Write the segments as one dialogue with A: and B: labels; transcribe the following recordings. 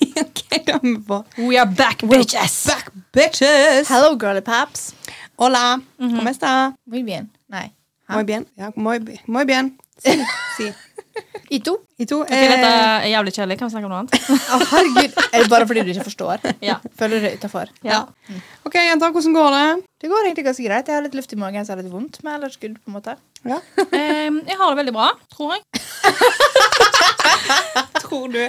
A: Jeg glemmer på.
B: We are back, bitches!
A: Back bitches!
B: Hello, girly paps.
A: Hola. ¿Cómo está?
B: Muy bien. Nei.
A: Muy bien. Mhm. Ah. Ja, muy, bi- muy bien. Si. si.
B: I to?
A: I to
C: Ok, dette
A: eh,
C: er jævlig kjedelig. Kan vi snakke om noe annet?
B: Å, herregud. Er det bare fordi du ikke forstår?
C: Ja.
B: Føler du deg utafor?
C: ja.
A: OK, jenter, hvordan går det?
B: Det går egentlig ganske greit. Jeg har litt luft i magen, så jeg har litt vondt med ellers good, på en måte.
A: Ja.
C: Em, jeg har det veldig bra, tror jeg.
A: Tror du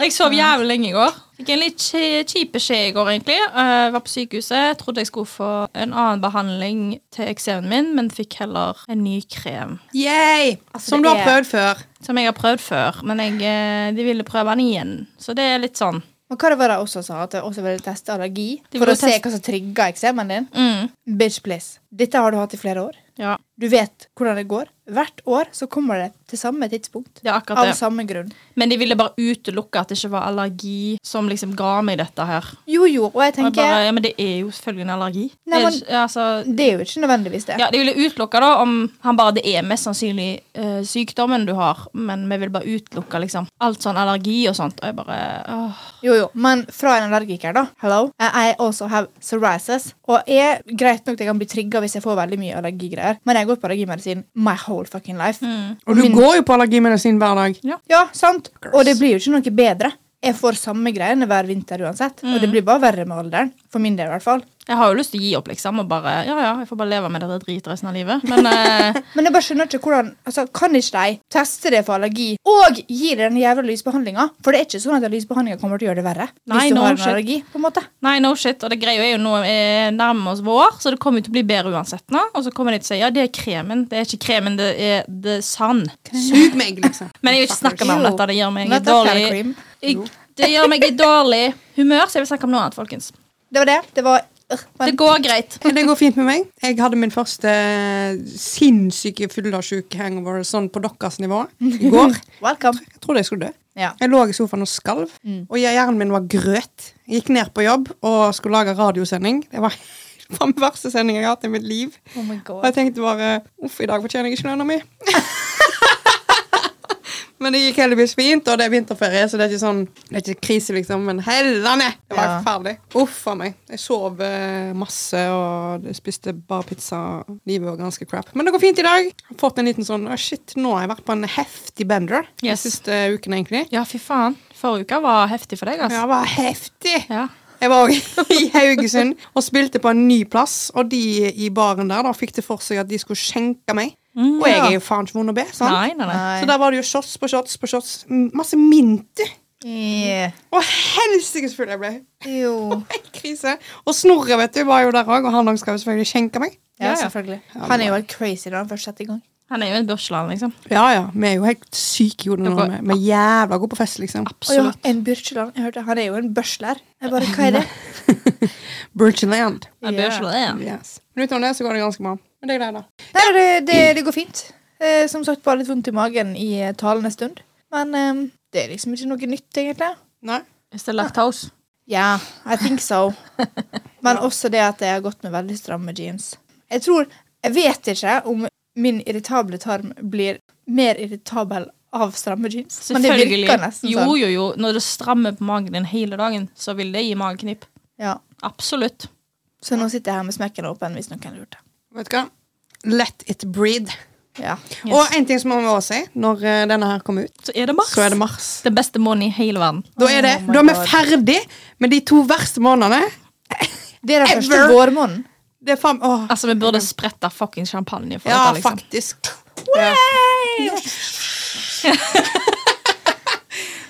C: Jeg sov jævlig lenge i går. Fikk en litt kje- kjip beskjed i går, egentlig. Eh, var på sykehuset. Trodde jeg skulle få en annen behandling til eksemen min, men fikk heller en ny krem.
A: Yay! Som
B: Altså, det
A: du har
B: er-
A: prøvd før.
C: Som jeg har prøvd før, men jeg, eh, de ville prøve den igjen. Så det er litt sånn
B: Men hva det var det også sa? At jeg også ville teste allergi?
C: De
B: For
C: ville
B: å se
C: teste-
B: hva som trigger eksemen din?
C: mm,
B: Bitch, please. Dette har du hatt i flere år.
C: Ja,
B: Du vet hvordan det går. Hvert år så kommer det til samme tidspunkt.
C: det er akkurat
B: Av
C: det.
B: samme grunn.
C: Men de ville bare utelukke at det ikke var allergi som liksom ga meg dette her.
B: Jo, jo, og jeg
C: Og jeg
B: tenker
C: bare, ja, men det er jo selvfølgelig en allergi.
B: Nei,
C: Det er
B: men-
C: ikke- altså,
B: Det er jo ikke nødvendigvis det.
C: Ja, De ville utelukke da om han bare det er mest sannsynlig eh, sykdommen du har, men vi vil bare utelukke liksom alt sånn allergi og sånt. Og jeg bare åh.
B: Jo, jo, men fra en allergiker, da. Hello. Eh, I I also have psoriasis. Og jeg, greit nok at jeg kan bli trigga hvis jeg får veldig mye allergigreier, men jeg har gått på allergimedisin my whole fucking life.
C: Mm.
A: Og du går jo på allergimedisin hver dag.
B: Ja, sant? Og det blir jo ikke noe bedre. Jeg får samme greiene hver vinter uansett. Og
C: Mm.
B: det blir bare verre med alderen. For min del, i hvert fall.
C: Jeg har jo lyst til å gi opp, liksom. Og bare, ja, ja, jeg får bare leve med dette dritet resten av livet. Men eh,
B: Men jeg bare skjønner ikke hvordan altså, Kan ikke de teste det for allergi og gi deg den jævla lysbehandlinga? For det er ikke sånn at lysbehandlinga kommer til å gjøre det verre.
C: Nei,
B: hvis du
C: no
B: har en
C: shit.
B: allergi, på en måte.
C: nei, no shit. Og det greia er jo nå eh, nærmer oss vår, så det kommer jo til å bli bedre uansett nå. Og så kommer de til å si ja, det er kremen. Det er ikke kremen, det er the sun.
A: Sug meg, liksom.
C: Men jeg vil ikke snakke mer om
B: Jo.
C: dette. Det gjør meg i
B: Not that kind of
C: dårlig
B: cream.
C: jeg, Det gjør meg i dårlig humør, så jeg vil snakke om noe annet, folkens.
B: Det var det. Det var øh,
C: Det
B: men-
C: går greit.
A: Det går fint med meg. Jeg hadde min første eh, sinnssyke fyllesyke hangover sånn på deres nivå i går.
B: Welcome.
A: Jeg trodde jeg skulle dø.
B: Ja.
A: Jeg lå i sofaen og skalv, og hjernen min var grøt. Jeg gikk ned på jobb og skulle lage radiosending. Det var det var den verste sendingen jeg har hatt i mitt liv.
B: Oh my
A: Og
B: god.
A: jeg tenkte bare Uff, i dag fortjener jeg ikke lønna mi. men det gikk heldigvis fint, og det er vinterferie, så det er ikke sånn Det er ikke krise, liksom. Men hellene! Det var
B: Ja.
A: forferdelig. Uff a meg. Jeg sov eh, masse og spiste bare pizza. Livet var ganske crap. Men det går fint i dag. Jeg har fått en liten sånn «Å, Shit, nå har jeg vært på en heftig bender de
C: Yes.
A: siste ukene, egentlig.
C: Ja, fy faen. Forrige uke var heftig for deg,
A: Ja,
C: altså.
A: det var heftig!
C: Ja.
A: Jeg var også i Haugesund og spilte på en ny plass, og de i baren der da, fikk det for seg at de skulle skjenke meg. og jeg er jo faen ikke vond å be. sant?
C: Nei, nei, nei.
A: Så der var det jo shots på shots på shots. M- Masse mynte.
B: Yeah.
A: Og helsikes full jeg ble.
B: Jo.
A: Helt krise. Og Snorre vet du, var jo der òg, og han også skal jo selvfølgelig skjenke meg.
C: Ja,
B: Ja,
C: ja.
B: selvfølgelig. Han er jo helt crazy når han først setter i gang.
C: Han er jo et børsland, liksom.
A: Ja, ja. Vi er jo helt syke i hodet nå.
C: Dere-
A: Vi vi er jævla gode på fest, liksom.
B: Å ja,
C: Absolutt.
B: en Birkeland. Jeg hørte, han er jo en børsler. Jeg bare, hva er det?
A: Birchland.
C: Et børsland, ja.
A: Yes. Men utenom det så går det ganske bra. Men det er deg, da.
B: Nei, det, det, det går fint. Eh, som sagt, bare litt vondt i magen i eh, talende stund. Men eh, det er liksom ikke noe nytt, egentlig.
A: Nei?
C: Hvis det er laktose.
B: Ja, I think so. Men også det at jeg har gått med veldig stramme jeans. Jeg tror, jeg vet ikke om min irritable tarm blir mer irritabel av stramme jeans. Men det
C: Selvfølgelig.
B: virker nesten
C: Jo,
B: sånn.
C: jo, jo. Når du strammer på magen din hele dagen, så vil det gi mageknip.
B: Ja.
C: Absolutt.
B: Så nå sitter jeg her med smekken åpen, hvis noen lurte.
A: Vet du hva? Let it breathe.
B: Ja.
C: Yes.
A: Og en ting som man må også si, når eh, denne her kommer ut,
C: Så er det mars.
A: så er det mars.
C: Den beste måneden i hele verden.
A: Da er, det,
B: Oh my
A: da er vi
B: God.
A: ferdig med de to verste månedene.
B: Det er den
A: Ever.
B: første vårmåneden.
A: Det er faen, åh.
C: Altså, vi burde sprette fucking champagne for
A: Ja,
C: dette, liksom.
A: faktisk. Ja.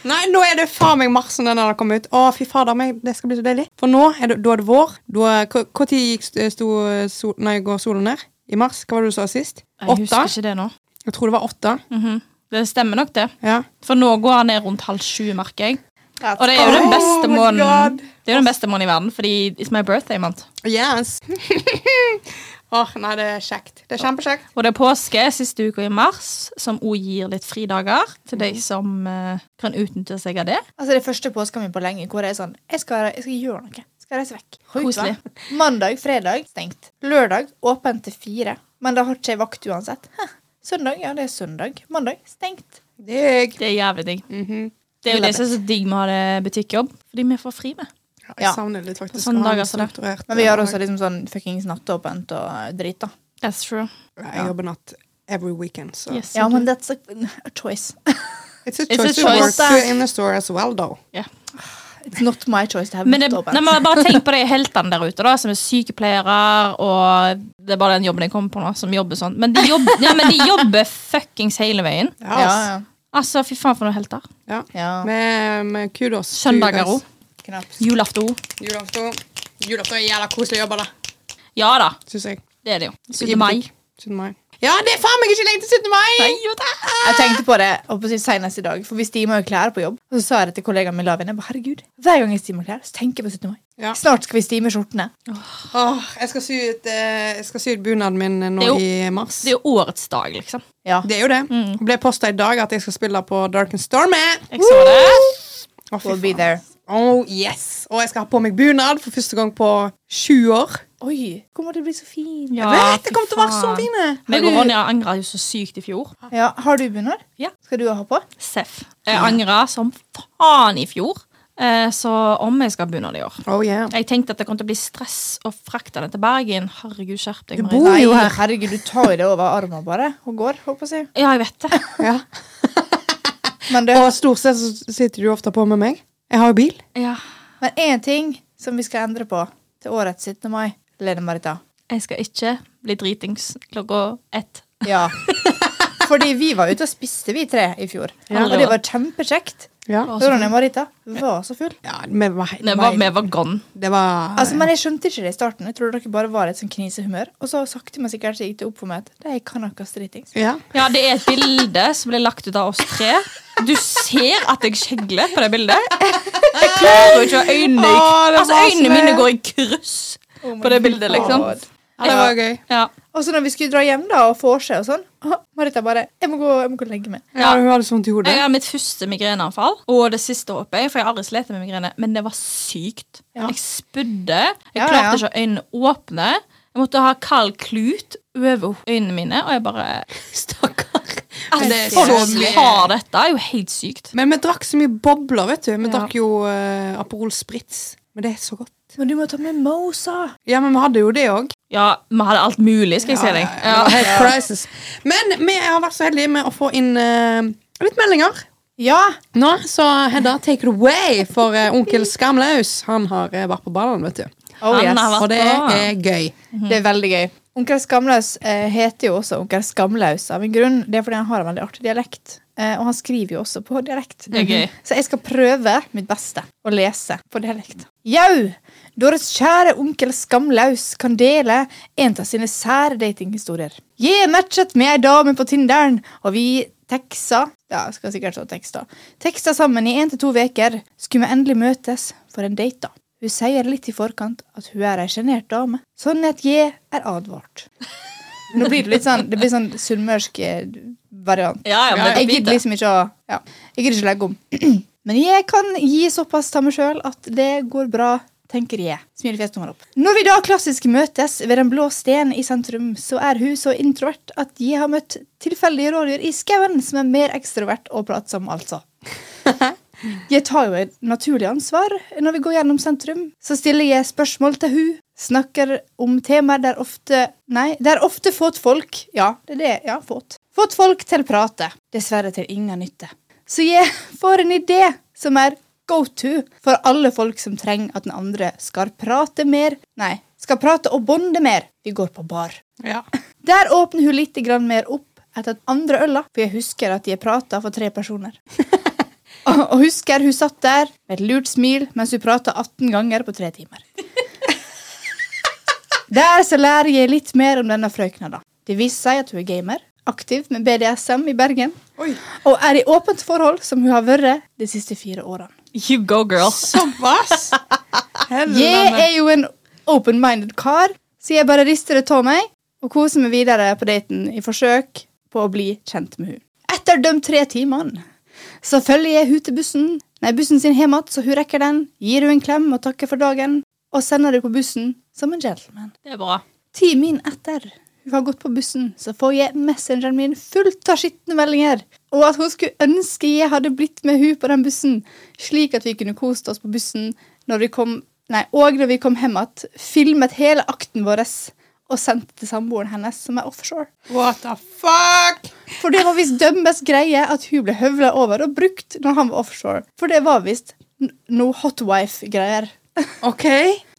A: Nei, nå er det faen meg mars når den har kommet ut. Å, fy fader meg, det skal bli så deilig. For nå er det, da er det vår. Når gikk st- sto sol, nei, går solen ned? I mars? Hva var det du sa sist?
C: Jeg
A: Åtte?
C: husker ikke det nå.
A: Jeg tror det var åtte.
C: Mhm. Det stemmer nok, det.
A: Ja.
C: For nå går han ned rundt halv sju, merker jeg.
B: Ja.
C: Og det er jo den beste
A: Oh my
C: måneden
A: God.
C: Det er jo den beste måneden i verden, fordi it's my birthday month.
A: Yes. Åh, nei, det er kjekt. Det er kjempekjekt.
C: Og det er påske siste uka i mars, som òg gir litt fridager til de som eh, kan utnytte seg av det.
B: Altså det er første påsken min på lenge hvor jeg er sånn Jeg skal, jeg skal gjøre noe. Jeg skal reise vekk. Sjukt,
C: Koselig.
B: va? Mandag, fredag stengt. Lørdag åpent til fire. Men da har ikke jeg vakt uansett. Hæ. Søndag, ja det er søndag. Mandag stengt.
A: Digg. Mhm.
C: Det er jævlig digg. Det er jo det som er så digg med å ha det butikkjobb. Fordi vi får fri med.
A: Ja,
B: Ja.
A: jeg savner litt faktisk.
C: Sånne
A: å ha en
C: dager som det.
A: strukturert,
B: Men vi
A: eh,
B: har også liksom sånn fuckings nattåpent og drit, da.
C: That's true.
A: Jeg jobber natt every weekend, så
C: Yes,
B: Ja,
C: you
B: men
C: do.
B: that's a, a choice.
A: It's a
C: a
A: choice to
C: choice.
A: work to in the store as well, though.
B: It's not my choice to have
C: men det,
B: nattåpent.
C: nei, men bare tenk på de heltene der ute, da, som er sykepleiere og Det er bare den jobben jeg kommer på nå, som jobber sånn. Men de jobber, ja, men de jobber fuckings hele veien.
A: Ja,
B: ja,
A: ass.
C: Altså, fy faen for noen helter.
A: ja.
B: ja. ja.
A: Med, med kudos. to you
C: Søndager
A: guys.
C: òg.
B: Knapt.
C: Julaften òg.
A: Julaften. Julaften er jævla koselig å jobbe, da.
C: Ja da,
A: Syns jeg.
C: det er det jo.
A: I
C: 17. mai.
A: butikk. 17. mai. Ja, det er faen meg ikke lenge til 17. mai!
C: Nei, jo da.
B: Jeg tenkte på det og på å si senest i dag, for vi stimer jo klær på jobb. Og så sa jeg det til kollegaen min Lavin. Jeg bare, herregud, Hver gang jeg stimer klær, så tenker jeg på 17. mai.
A: Ja.
B: Snart skal vi stime skjortene.
A: Åh, jeg skal sy ut, eh, jeg skal sy ut bunaden min eh, nå
C: Det er jo-
A: i mars.
C: Det er jo årets dag, liksom.
B: Ja.
A: Det er jo det. Ble posta i dag at jeg skal spille på Dark and Stormy.
C: Jeg så det.
A: Å, fy
B: We'll be
A: faen.
B: there.
A: Oh, yes. Og jeg skal ha på meg bunad for første gang på sju år.
B: Oi, kommer til å bli så fin.
C: Ja,
A: Vet,
C: fy
A: det kommer til å være så
C: faen.
A: fine! Har
C: Meg og
A: du-
C: Ronja angra jo så sykt i fjor.
B: Ja, Har du bunad?
C: Ja.
B: Skal du ha på?
C: Seff. Jeg angra som faen i fjor. Eh, Så om jeg skal ha bunad i år
A: Oh, yeah.
C: Jeg tenkte at det kom til å bli stress å frakte den til Bergen. Herregud, skjerp deg,
A: Du
C: Marie.
A: bor- Hun er jo her.
B: herregud, du tar jo det over armen bare og går, håper jeg.
C: Ja, jeg vet det.
A: ja.
B: Men det
A: Og stort sett så sitter du ofte på med meg. Jeg har jo bil.
C: Ja.
B: Men én ting som vi skal endre på til årets 17. mai, Lene Marita.
C: Jeg skal ikke bli dritings klokka ett.
B: Ja. Fordi vi var ute og spiste, vi tre, i fjor.
C: Ja.
B: Og det var kjempekjekt.
A: Ja,
C: Var så full.
B: Ronja Marita var så full.
A: ja vi var,
C: Vi var, vi var gone.
A: Det var
B: Altså, men jeg skjønte ikke det i starten. Jeg tror dere bare var i et sånn knisehumør. Og så sakte, men sikkert så gikk det opp for meg at de kan ikke ha dritings.
A: ja.
C: Ja, det er et bilde som ble lagt ut av oss tre. Du ser at jeg skjegler på det bildet. Jeg klarer jo ikke å ha øynene i
A: Åh, det var
C: Altså,
A: så
C: øynene mine
A: leit.
C: går i kryss på det bildet, liksom.
A: Ja, det var gøy.
C: Ja.
B: Og så når vi skulle dra hjem da og vorse og sånn, Marita bare jeg må, gå, 'Jeg må gå og legge meg'.
A: Ja, hun hadde så vondt i hodet.
C: Jeg hadde mitt første migreneanfall, og det siste håper jeg, for jeg har aldri slitt med migrene, men det var sykt.
B: Ja.
C: Jeg spydde, jeg
B: Ja, ja.
C: klarte ikke å ha øynene åpne. Jeg måtte ha kald klut over øynene mine, og jeg bare
A: Stakkar. Men
C: At
A: Altså, det er
C: folk
A: så mye.
C: har dette, er jo helt sykt.
A: Men vi drakk så mye bobler, vet du. Vi
C: Ja.
A: drakk jo eh, Aperol Spritz. Men det er så godt.
B: Men du må ta med Mosa.
A: Ja, men vi hadde jo det òg.
C: Ja, vi hadde alt mulig, skal jeg si deg. Ja.
A: Helt crisis. Men vi har vært så heldige med å få inn eh, litt meldinger.
B: Ja!
A: Nå, så Hedda, take it away, for eh, onkel Skamlaus han har eh, vært på ballen, vet du.
B: Oh,
C: Han
B: yes.
C: har vært
A: Og det
C: bra.
A: er gøy.
B: Det er veldig gøy. Onkel Skamlaus eh, heter jo også Onkel Skamlaus av en grunn. Det er fordi han har en veldig artig dialekt. Eh, og han skriver jo også på dialekt.
C: Det er gøy.
B: Så jeg skal prøve mitt beste å lese på dialekt. Jau! Deres kjære onkel Skamlaus kan dele en av sine sære datinghistorier. Jeg matchet med ei dame på Tinderen, og vi teksta Ja, jeg skal sikkert stå teksta. Teksta sammen i én til to uker. Skulle vi endelig møtes for en date, da. Hun sier litt i forkant at hun er ei sjenert dame, sånn at jeg er advart. Nå blir det litt sånn, det blir sånn sunnmørsk eh, variant.
C: Ja, ja, men det er
B: jeg
C: fint,
B: gidder
C: det.
B: liksom ikke å ja, Jeg gidder ikke legge om. Men jeg kan gi såpass til meg sjøl at det går bra, tenker jeg. Smilefjes tommel opp. Når vi da klassisk møtes ved Den blå sten i sentrum, så er hun så introvert at jeg har møtt tilfeldige rådyr i skauen som er mer ekstrovert og pratsom, altså. Jeg tar jo et naturlig ansvar når vi går gjennom sentrum. Så stiller jeg spørsmål til hun, snakker om temaer der ofte Nei, der ofte fått folk Ja, det er det. Ja, fått. Fått folk til prate. Dessverre til ingen nytte. Så jeg får en idé som er go to for alle folk som trenger at den andre skal prate mer Nei, skal prate og bonde mer. Vi går på bar.
A: Ja.
B: Der åpner hun litt grann mer opp etter at andre øla, for jeg husker at jeg prata for tre personer. og og husker hun satt der med et lurt smil mens hun prata 18 ganger på tre timer. Der så lærer jeg litt mer om denne frøkna, da. Det viser seg at hun er gamer, aktiv med BDSM i Bergen,
A: Oi.
B: og er i åpent forhold, som hun har vært de siste fire årene.
C: You go, girl.
A: Såpass!
B: Jeg
A: Helvete.
B: er jo en open-minded kar, så jeg bare rister det av meg og koser meg videre på daten i forsøk på å bli kjent med hun. Etter de tre timene så følger jeg hun til bussen, nei, bussen sin hjem igjen, så hun rekker den, gir hun en klem og takker for dagen, og sender det på bussen som en gentleman.
C: Det er bra.
B: Ti min etter hun har gått på bussen, så får jeg messengeren min fullt av skitne meldinger Og at hun skulle ønske jeg hadde blitt med hun på den bussen, slik at vi kunne kost oss på bussen når vi kom, nei, og når vi kom hjem igjen, filmet hele akten vår og sendte til samboeren hennes, som er offshore.
A: What the fuck?
B: For det var visst dømmes greie at hun ble høvla over og brukt når han var offshore. For det var visst n- noe hotwife-greier.
A: OK.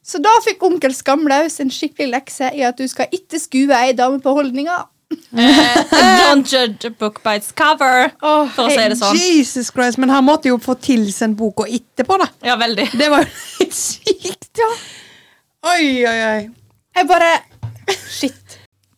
B: Så da fikk onkel Skamlaus en skikkelig lekse i at du skal ikke skue ei dame på holdninga.
C: Don't judge a book by its cover, for å si det sånn.
A: Jesus Christ, men han måtte jo få tilsendt boka etterpå, da.
C: Ja, veldig.
A: Det var jo helt sykt.
B: Ja.
A: Oi, oi, oi.
B: Jeg bare Shit.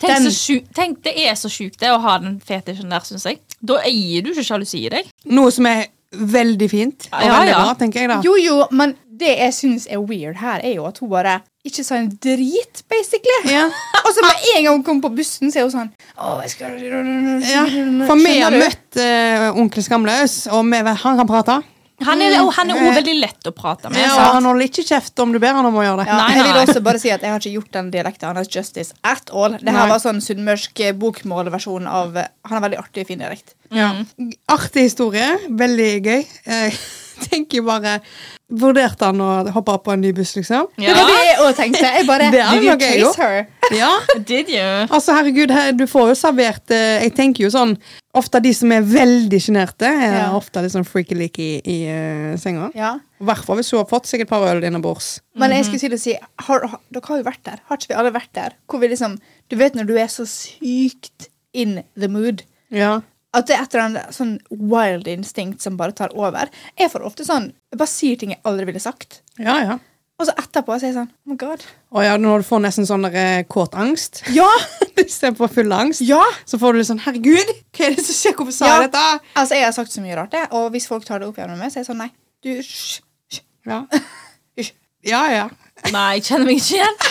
C: Tenk,
B: Den-
C: så sju- tenk, det er så sjukt det å ha den fetisjen der, syns jeg. Da eier du ikke sjalusi i deg.
A: Noe som er veldig fint. Og
C: Ja,
A: veldig
C: ja.
A: bra, tenker jeg da.
B: Jo, jo, men det jeg syns er weird her, er jo at hun bare ikke sa en drit, basically.
A: Ja.
B: Og så med en gang hun kom på bussen, så er hun sånn Å, jeg skal
A: Ja. For vi har
B: Skjønner du?
A: møtt eh, onkel Skamløs, og vi, han kan prate.
C: Han er
B: Mm.
C: òg veldig lett å prate med.
A: og
C: sant?
A: han holder ikke kjeft om du ber han om å gjøre det.
B: Ja,
C: Nei,
B: Jeg vil
C: nei.
B: også bare si at jeg har ikke gjort den dialekten hans justice at all. Det
A: Nei.
B: her var sånn sunnmørsk eh, bokmålversjon av eh, Han har veldig artig, fin dialekt.
A: Ja. Artig historie. Veldig gøy. Jeg tenker jo bare Vurderte han å hoppe opp på en ny buss, liksom?
B: Det var det
C: Ja,
B: jeg òg tenkte. Jeg bare,
A: Det er noe
B: Did you
A: jeg
B: chase her?
A: Ja.
C: did you?
A: Altså, herregud, her, du får jo servert eh, Jeg tenker jo sånn Ofte de som er veldig sjenerte, er
B: Ja.
A: ofte litt sånn freaky-leak i, i eh, senga.
B: Ja.
A: I hvert fall hvis hun har fått seg et par øl innabords.
B: Men jeg skulle til å si har, har, Dere har jo vært der. Har ikke vi alle vært der? Hvor vi liksom Du vet når du er så sykt in the mood.
A: Ja.
B: At det er et eller annet sånn wild instinct som bare tar over. Jeg får ofte sånn Jeg bare sier ting jeg aldri ville sagt.
A: ja, ja.
B: Og så etterpå så er jeg sånn Oh my god.
A: Og ja, når du får nesten sånn der, eh, kåt angst
B: Ja!
A: istedenfor full angst,
B: Ja!
A: så får du litt sånn Herregud, hva er det som skjer? Hvorfor sa
B: Ja.
A: jeg dette?
B: Altså, jeg har sagt så mye rart, jeg. Og hvis folk tar det opp igjen med meg, så er jeg sånn Nei, du hysj, hysj,
A: Ja.
B: hysj.
A: ja, ja.
C: Nei, jeg kjenner meg ikke igjen.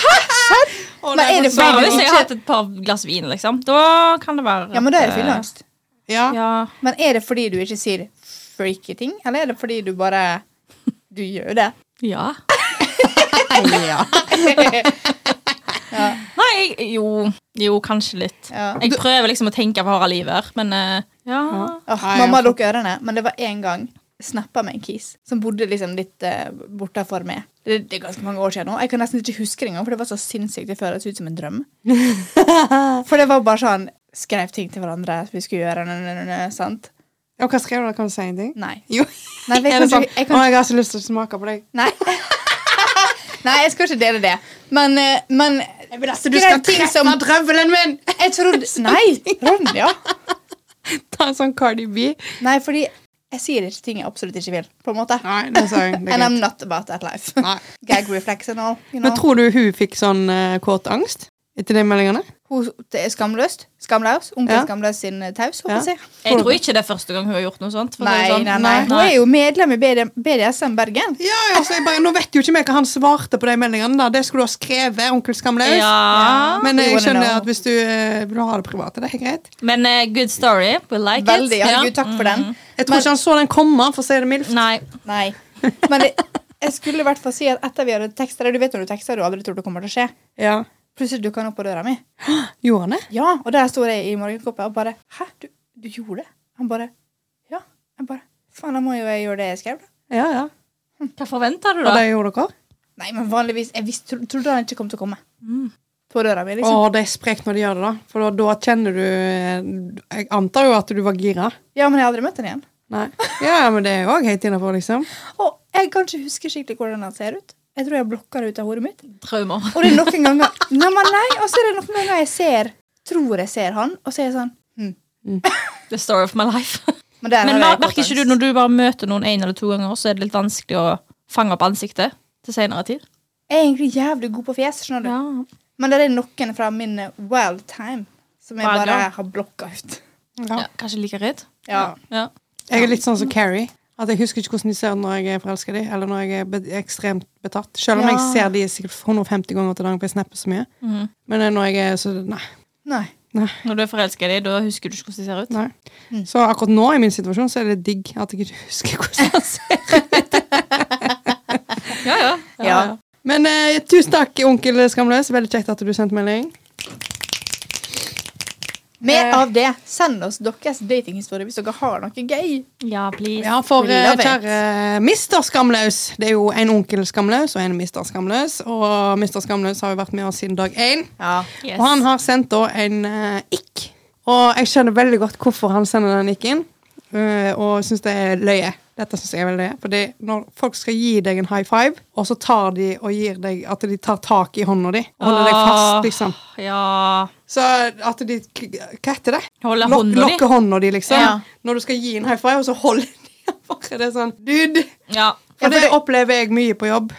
A: Og
B: Men
A: det
B: er det
A: sånn-
C: Bare
B: Bare
C: hvis jeg
B: Altså, ikke-
C: har hatt et par glass vin, liksom. Da kan det være
B: Ja, men da er det
C: at, eh,
B: fylleangst.
A: ja.
C: Ja.
B: Men er det fordi du ikke sier freaky ting, eller er det fordi du bare Du gjør det.
C: ja.
A: ja.
B: Ja.
C: Nei, jeg, jo Jo, kanskje litt.
B: ja.
C: Jeg prøver liksom å tenke på harde livet her, men eh, ja.
B: Åh,
A: Nei,
B: mamma
A: altså.
B: lukket ørene, men det var en gang snappa med en kis som bodde liksom litt uh, bortafor meg. Det, det er ganske mange år siden nå. Jeg kan nesten ikke huske det engang, for det var så sinnssykt det føltes ut som en drøm. For det var bare sånn Skrev ting til hverandre vi skulle gjøre, nø, nø, nø, nø, sant?
A: Og hva skrev du? da? Kan du si en ting?
B: Nei.
A: Jo.
B: Nei, jeg
A: er det
B: kan
A: sånn
B: ikke- jeg
A: Å,
B: kan-
A: jeg har så lyst til å smake på deg.
B: Nei. Nei, jeg skal ikke dele det. Men, eh, men Jeg vil
A: Så du skal treffe drøvelen min!
B: Jeg trodde Nei, Ronja.
A: Ta en sånn Cardi B.
B: Nei, fordi jeg sier ikke ting jeg absolutt ikke vil, på en måte.
A: Nei, det sa jeg. Det er
B: And I'm
A: greit.
B: not about that life.
A: Nei.
B: Gag reflex and all. You know.
A: Men tror du hun fikk sånn eh, kåt angst etter de meldingene?
B: Hun det er skamløst. Skamlaus. Onkel
A: Ja.
B: Skamlaus sin eh, taus,
A: Ja.
B: håper jeg.
C: Jeg tror ikke det er første gang hun har gjort noe sånt. for å si
B: Nei,
C: det sånn.
B: nei, nei. Hun er jo medlem i BD BDSM Bergen.
A: Ja, ja, så jeg bare, Nå vet jo ikke vi hva han svarte på de meldingene. da. Det skulle du ha skrevet, onkel Skamlaus.
C: Ja.
A: Men
B: We
A: jeg
B: wanna
A: skjønner
B: know.
A: at hvis du eh, vil ha det private, det er helt greit.
C: Men eh, good story. We like
B: Veldig.
C: it.
B: Herregud, takk for
C: Mm.
B: den.
A: Jeg tror
B: Men-
A: ikke han så den komme, for å si det mildt.
C: Nei.
B: Nei. Men det, jeg skulle i hvert fall si at etter vi hadde teksta Du vet når du tekster du aldri tror det kommer til å skje.
A: Ja.
B: Plutselig dukka han opp på døra mi.
A: Gjorde han det?
B: Ja, Og der står jeg i morgenkåpa og bare Hæ, du, du gjorde det? Han bare Ja. Jeg bare Faen, da må jo jeg gjøre det jeg skrev, da.
A: Ja, ja.
C: Hva forventer du,
A: Og
C: da?
A: det gjorde dere?
B: Nei, men vanligvis Jeg visste, tro, trodde han ikke kom til å komme.
C: Mm.
B: På døra mi,
A: Å,
B: liksom.
A: det er sprekt når de gjør det, da. For da, da kjenner du eh, Jeg antar jo at du var gira.
B: Ja, men jeg har aldri møtt han igjen.
A: Nei. Ja, men det er jo òg helt innafor, liksom.
B: Og jeg kan ikke huske skikkelig hvordan han ser ut. Jeg tror jeg blokker det ut av hodet mitt.
C: Traumer.
B: Og det er noen ganger Nei, men nei, og så er det noen ganger jeg ser Tror jeg ser han, og så er jeg sånn hm.
C: The story of my life.
B: Men, der har
C: Men
B: jeg
C: mer-
B: gått
C: merker ikke du
B: angst.
C: når du bare møter noen en eller to ganger, så er det litt vanskelig å fange opp ansiktet til senere tid?
B: Jeg er egentlig jævlig god på fjes, skjønner du.
C: Ja.
B: Men det er noen fra min eh, wild time som jeg
C: Bare-
B: bare har blokka ut.
A: Ja.
C: kanskje like redd?
B: Ja.
C: Ja.
A: Jeg er litt sånn som Carrie. At Jeg husker ikke hvordan de ser ut når jeg er forelska i dem, eller når jeg er be ekstremt betatt. Selv om jeg
B: Ja.
A: ser de sikkert 150 ganger til dagen, for jeg snapper så mye.
C: Mhm.
A: Men eh, når jeg er så Nei.
B: Nei.
A: Nei.
C: Når du er forelska i dem, da husker du ikke hvordan de ser ut?
A: nei.
B: Mm.
A: Så akkurat nå i min situasjon så er det digg at jeg ikke husker hvordan han ser ut.
C: Ja, ja.
B: Ja.
A: Men eh, tusen takk, onkel Skamløs. Veldig kjekt at du sendte melding.
B: Med av det, send oss deres datinghistorie hvis dere har noe gøy.
C: Ja, please.
A: Ja, for
B: We
A: eh,
B: love it.
A: kjære Mister Skamløs. Det er jo en onkel Skamløs og en Mister Skamløs. Og Mister Skamløs har jo vært med oss siden dag én.
B: Ja.
C: Yes.
A: Og han har sendt da en eh, ikk. Og jeg skjønner veldig godt hvorfor han sender den ikken. eh, og syns det er løye. Dette synes jeg er veldig løye. Fordi når folk skal gi deg en high five, og så tar de og gir deg at de tar tak i hånda di og holder deg fast, liksom.
C: Ja.
A: Så at de Hva heter det?
C: Holder
A: Lok,
C: hånda di?
A: lokker hånda di, liksom.
B: Ja.
A: Når du skal gi en high five, og så holder de bare det sånn. Dude!
C: ja.
A: For
B: for
A: det
B: det-
A: opplever jeg mye på jobb.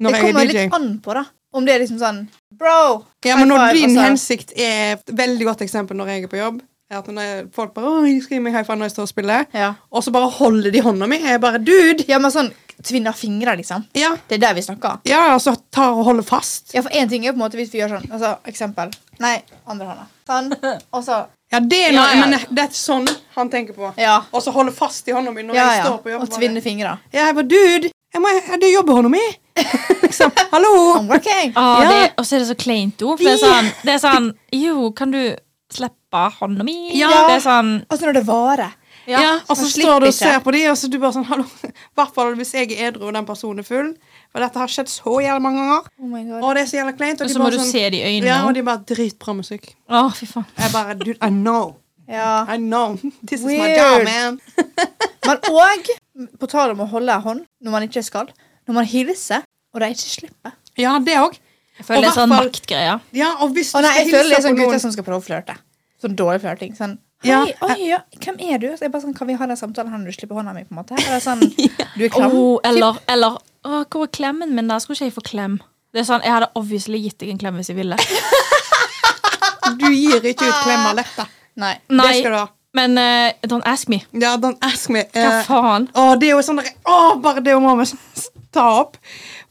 A: Når
B: det
A: jeg
B: kommer
A: er DJ.
B: litt an på, da. Om det er liksom sånn Bro!
A: Ja, men når
B: high five, altså.
A: din
B: og så-
A: hensikt er et veldig godt eksempel når jeg er på jobb, er at når folk bare «Åh, jeg skriver meg high five når jeg står og spiller,
B: Ja.
A: og så bare holder de hånda mi. Jeg er bare dude!
B: ja, men sånn tvinna fingre, liksom.
A: Ja,
B: Det er der vi snakker.
A: ja og så tar og holder fast.
B: Ja, for én ting er på en måte hvis vi gjør sånn. Altså, eksempel. Nei, andre hånda. Sånn. Og så
A: Ja, det er noe,
C: Ja, ja.
A: men det er sånn han tenker på.
B: Ja.
A: Og så holder fast i hånda mi når
B: Ja,
A: jeg
B: ja.
A: står på jobb.
B: Og
A: bare,
B: tvinne fingre.
A: Ja, jeg bare dude! Jeg må, ja, det er jobbhånda mi! liksom. Hallo!
B: I'm working.
C: Ah,
A: Ja.
C: det- Og så er det så kleint ord. For det er sånn, det er sånn Jo, kan du slippe hånda mi?
B: Ja.
C: Det er sånn
B: Altså når det varer.
A: Ja, og så
B: man
A: står du og
B: slipper
A: ser
B: ikke.
A: på de, og så du bare sånn Hallo! I hvert fall hvis jeg er edru og den personen er full. For dette har skjedd så jævlig mange ganger.
B: Oh my god.
A: Og det er så jævla kleint.
C: Og
A: de
C: så må
A: bare
C: du
A: sånn-
C: se det i øynene.
A: Ja, og
C: også.
A: de bare dritbra musikk.
C: Å, fy faen.
A: Jeg bare Dude, I know.
B: Ja.
A: I know. This is my
B: Weird.
A: job, man.
B: Men òg, på tale om å holde en hånd når man ikke skal, når man hilser, og de ikke slipper.
A: Ja, det òg.
C: Jeg føler det er
A: Og
C: sånn
A: hvertfall-
C: maktgreie.
A: Ja, og hvis du
B: Å nei,
A: skal
B: jeg føler det er
A: hilse
B: sånn
A: på
B: gutter
A: noen
B: som skal prøve å flørte. Sånn dårlig flørting. Sånn Hei,
A: Ja.
B: oi, ja, hvem er du? Så jeg bare sånn, Kan vi ha den samtalen her når du slipper hånda mi? på en måte? Eller sånn, Du er klam.
C: Åh, eller eller å, Hvor er klemmen min? da? Skulle ikke jeg få klem? Det er sånn, Jeg hadde obviously gitt deg en klem hvis jeg ville.
A: Du gir ikke ut
B: Ah.
A: klemmer lette.
B: Nei.
A: Det
C: Nei,
A: skal du ha.
C: men eh, don't ask me.
A: Ja, don't ask me.
C: Hva
A: Eh,
C: faen?
A: å, det er jo sånn der, å, Bare det må vi ta opp.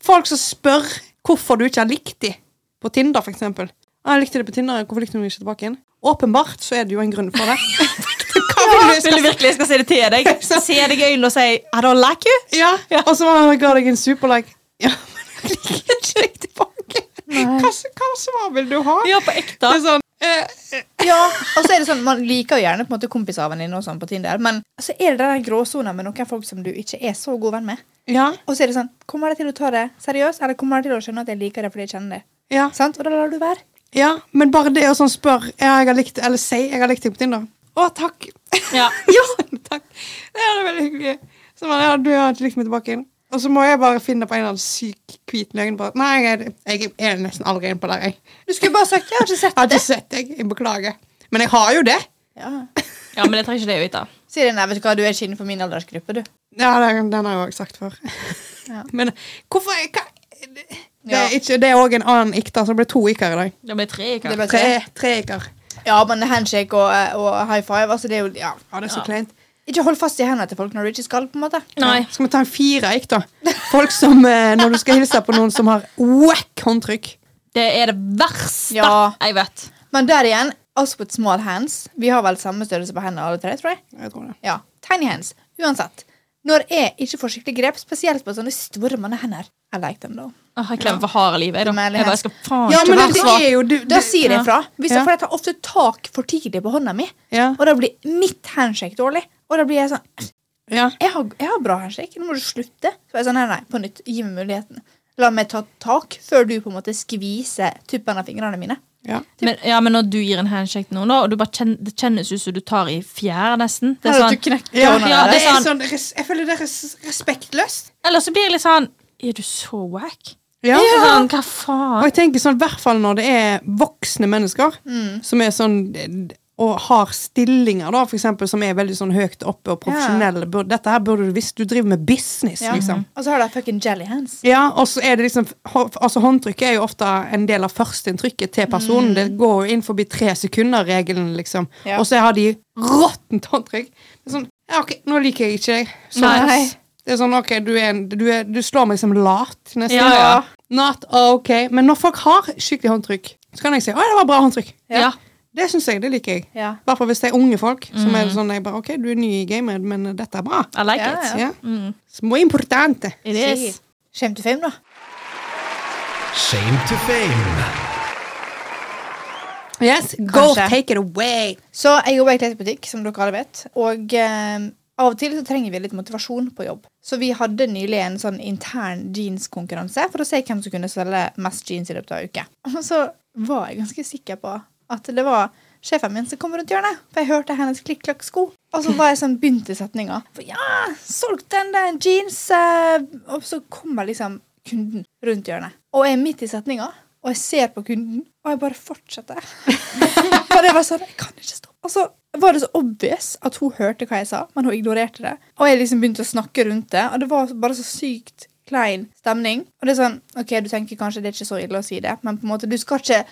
A: Folk som spør hvorfor du ikke har likt de på Tinder, for eksempel. Ah, jeg likte det på Tinder, hvorfor likte du meg ikke tilbake igjen? Åpenbart så er det jo en grunn for det. Hva vil du
C: Vil du virkelig jeg skal si det til deg? Se deg i øynene og si I don't like you.
A: Ja, og så var- ga deg en superlike. Ja, men jeg liker ikke deg tilbake. Hva, hva svar vil du ha?
C: Ja, på ekte.
A: Det er sånn, eh, eh,
B: Ja, og så er det sånn, Man liker jo gjerne på en måte kompiser av venninner og sånn på Tinder, men så er det den gråsona med noen folk som du ikke er så god venn med.
A: ja,
B: Og så er det sånn Kommer de til å ta det seriøst, eller kommer de til å skjønne at jeg liker det fordi jeg kjenner det?
A: ja,
B: Sant? Og da lar du være.
A: ja, men bare det å sånn spørre ja, jeg har likt, eller si jeg har likt deg på Tinder. Å, takk.
C: Ja.
A: ja, takk. Det er veldig hyggelig. Så man, ja, du har ikke likt meg tilbake igjen. Og så må jeg bare finne på en eller annen syk hvit løgn. Bare, nei, jeg, jeg er nesten aldri inne på der, jeg.
B: Du skulle bare sagt 'jeg har ikke
A: Jeg har
B: sett
A: ikke
B: det'.
A: sett deg, jeg beklager. Men jeg har jo det.
B: Ja.
C: ja, men det trenger ikke det å vite.
B: Sier de nei, vet du hva, du er ikke innenfor min aldersgruppe, du.
A: Ja, den, den har jeg òg sagt før.
B: Ja.
A: Men hvorfor er- hva, det,
B: Ja.
A: er ikke, det er òg en annen ikter, så det ble to ikker i dag.
C: Det ble tre.
B: Det
C: Ikke?
B: ble
A: Tre,
B: tre.
A: tre ikker.
B: Ja, men handshake og, eh, og high five, altså det er jo ja.
A: Ja, det er så
C: Ja.
A: kleint.
B: Ikke hold fast i hendene til folk når du ikke skal, på en måte.
C: Nei.
A: Skal vi ta en fire ikk, da? Folk som, eh, Når du skal hilse på noen som har wack håndtrykk.
C: Det er det verste
B: Ja.
C: jeg vet.
B: Men der igjen, us with small hands. Vi har vel samme størrelse på hendene alle tre, tror jeg.
A: Jeg tror det.
B: Ja, Tiny hands. Uansett. Når jeg ikke får skikkelig grep, spesielt på sånne store mannehender I like them, though.
C: Åh, jeg klemmer for harde livet. Jeg, da.
B: Men
C: jeg bare skal faen
A: Ja,
C: ikke
A: men
C: være
A: det,
C: svak.
A: det er jo du,
B: Da
A: det,
B: sier jeg fra. Hvis
A: Ja.
B: jeg, for jeg tar ofte tak for tidlig på hånda mi,
A: ja,
B: og da blir mitt handshake dårlig. Og da blir jeg sånn
A: ja.
B: jeg har, jeg har bra handshake, nå må du slutte. Så jeg er sånn, nei, nei, på nytt, gi meg muligheten. La meg ta tak før du på en måte skviser tuppen av fingrene mine.
A: ja.
C: Men, ja, men når du gir en handshake til noen, da, og du bare kjenner, det kjennes ut som du tar i fjær, nesten. Det er
B: Eller at
C: sånn,
B: du knekker
A: Ja,
B: hånda
C: ja,
B: der.
A: det er
C: sånn-
A: sånn, res- jeg føler det er res, respektløst.
C: eller så blir det litt sånn Er du så wack?
A: Ja.
C: Sånn, hva
A: Og
C: faen?
A: jeg tenker sånn, i hvert fall når det er voksne mennesker som er sånn og har stillinger da, for eksempel, som er veldig sånn høyt oppe og profesjonelle. Bur- Dette her burde du visst. Du driver med business,
B: Ja.
A: liksom.
B: Og så har de fucking jelly hands.
A: Ja, og så er det liksom hå- altså Håndtrykket er jo ofte en del av førsteinntrykket til personen. Det går jo inn forbi tre sekunder-regelen, liksom.
B: Ja.
A: Og så har de råttent håndtrykk. Det er sånn Ja, OK, nå liker jeg ikke deg.
C: Nei.
A: pass. Det er sånn, OK, du, er en, du, er, du slår meg som lat, nesten.
C: Ja, ja.
A: Not OK. Men når folk har skikkelig håndtrykk, så kan jeg si 'Å, det var bra håndtrykk'.
B: Ja.
C: Ja.
A: Det syns jeg. Det liker jeg.
B: Ja.
A: I hvert fall hvis det er unge folk. Som er sånn jeg bare, OK, du er ny i gamet, men dette er bra.
C: I like
B: Ja,
C: it.
A: Ja.
C: Mm.
A: Muy importante.
C: It is.
B: Shame to fame, da.
D: Shame to fame.
A: Yes, go
B: Kanskje.
A: take it away.
B: Så jeg jobber i klesbutikk, som dere alle vet. Og eh, av og til så trenger vi litt motivasjon på jobb. Så vi hadde nylig en sånn intern jeanskonkurranse for å se hvem som kunne selge mest jeans i løpet av en uke. Og så var jeg ganske sikker på at det var sjefen min som kom rundt hjørnet. For jeg hørte hennes klikk-klakk-sko. Og så var jeg sånn begynt i setninga. For ja, solgt den der jeans! Eh, og så kommer liksom kunden rundt hjørnet. Og jeg er midt i setninga, og jeg ser på kunden, og jeg bare fortsetter. Og det var sånn, jeg kan ikke stoppe. Og så var det så obvious at hun hørte hva jeg sa, men hun ignorerte det. Og jeg liksom begynte å snakke rundt det, og det var bare så sykt klein stemning. Og det er sånn, ok, du tenker kanskje det er ikke så ille å si det, men på en måte, du skal ikke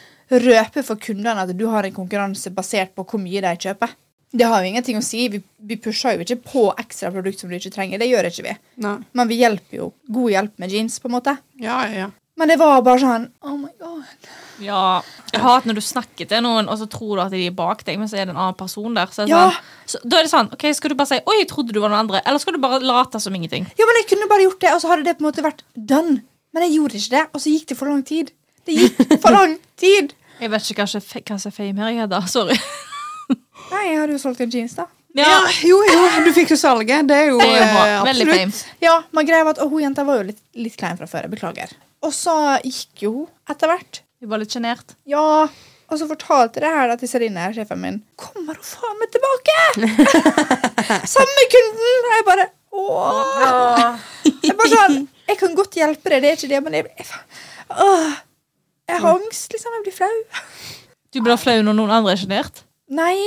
B: røpe for kundene at du har en konkurranse basert på hvor mye de kjøper. Det har jo ingenting å si. Vi, vi pusher jo ikke på ekstra produkt som du ikke trenger. Det gjør ikke vi.
A: Nei.
B: Men vi hjelper jo. God hjelp med jeans, på en måte.
A: Ja, ja, ja.
B: Men det var bare sånn, oh my god.
C: Ja. Jeg hater når du snakker til noen, og så tror du at de er bak deg, men så er det en annen person der. Så er det
B: Ja.
C: sånn, så, da er det sånn OK, skal du bare si 'oi, jeg trodde du var noen andre', eller skal du bare late som ingenting?
B: Ja, men jeg kunne bare gjort det, og så hadde det på en måte vært done. Men jeg gjorde ikke det, og så gikk det for lang tid. Det gikk for lang tid!
C: Jeg vet ikke hva som er fe- hva som er fame her, jeg, da. Sorry.
B: Nei, jeg hadde jo solgt en jeans, da.
A: ja.
C: Ja.
A: Jo, jo, du fikk jo salget. Det er jo
C: Det er jo bra.
A: eh,
C: Veldig
A: absolutt.
C: fame.
B: Ja, men greia var at og hun jenta var jo litt, litt klein fra før. Jeg beklager. Og så gikk jo hun etter hvert.
C: Jeg var litt sjenert.
B: Ja, og så fortalte det her da til Serine, sjefen min. Kommer hun faen meg tilbake?! Samme kunden! Og jeg bare Åh. Jeg bare sånn Jeg kan godt hjelpe deg, det er ikke det, men jeg Jeg, åh, jeg har angst, liksom. Jeg blir flau.
C: Du blir flau når noen andre er sjenert?
B: Nei,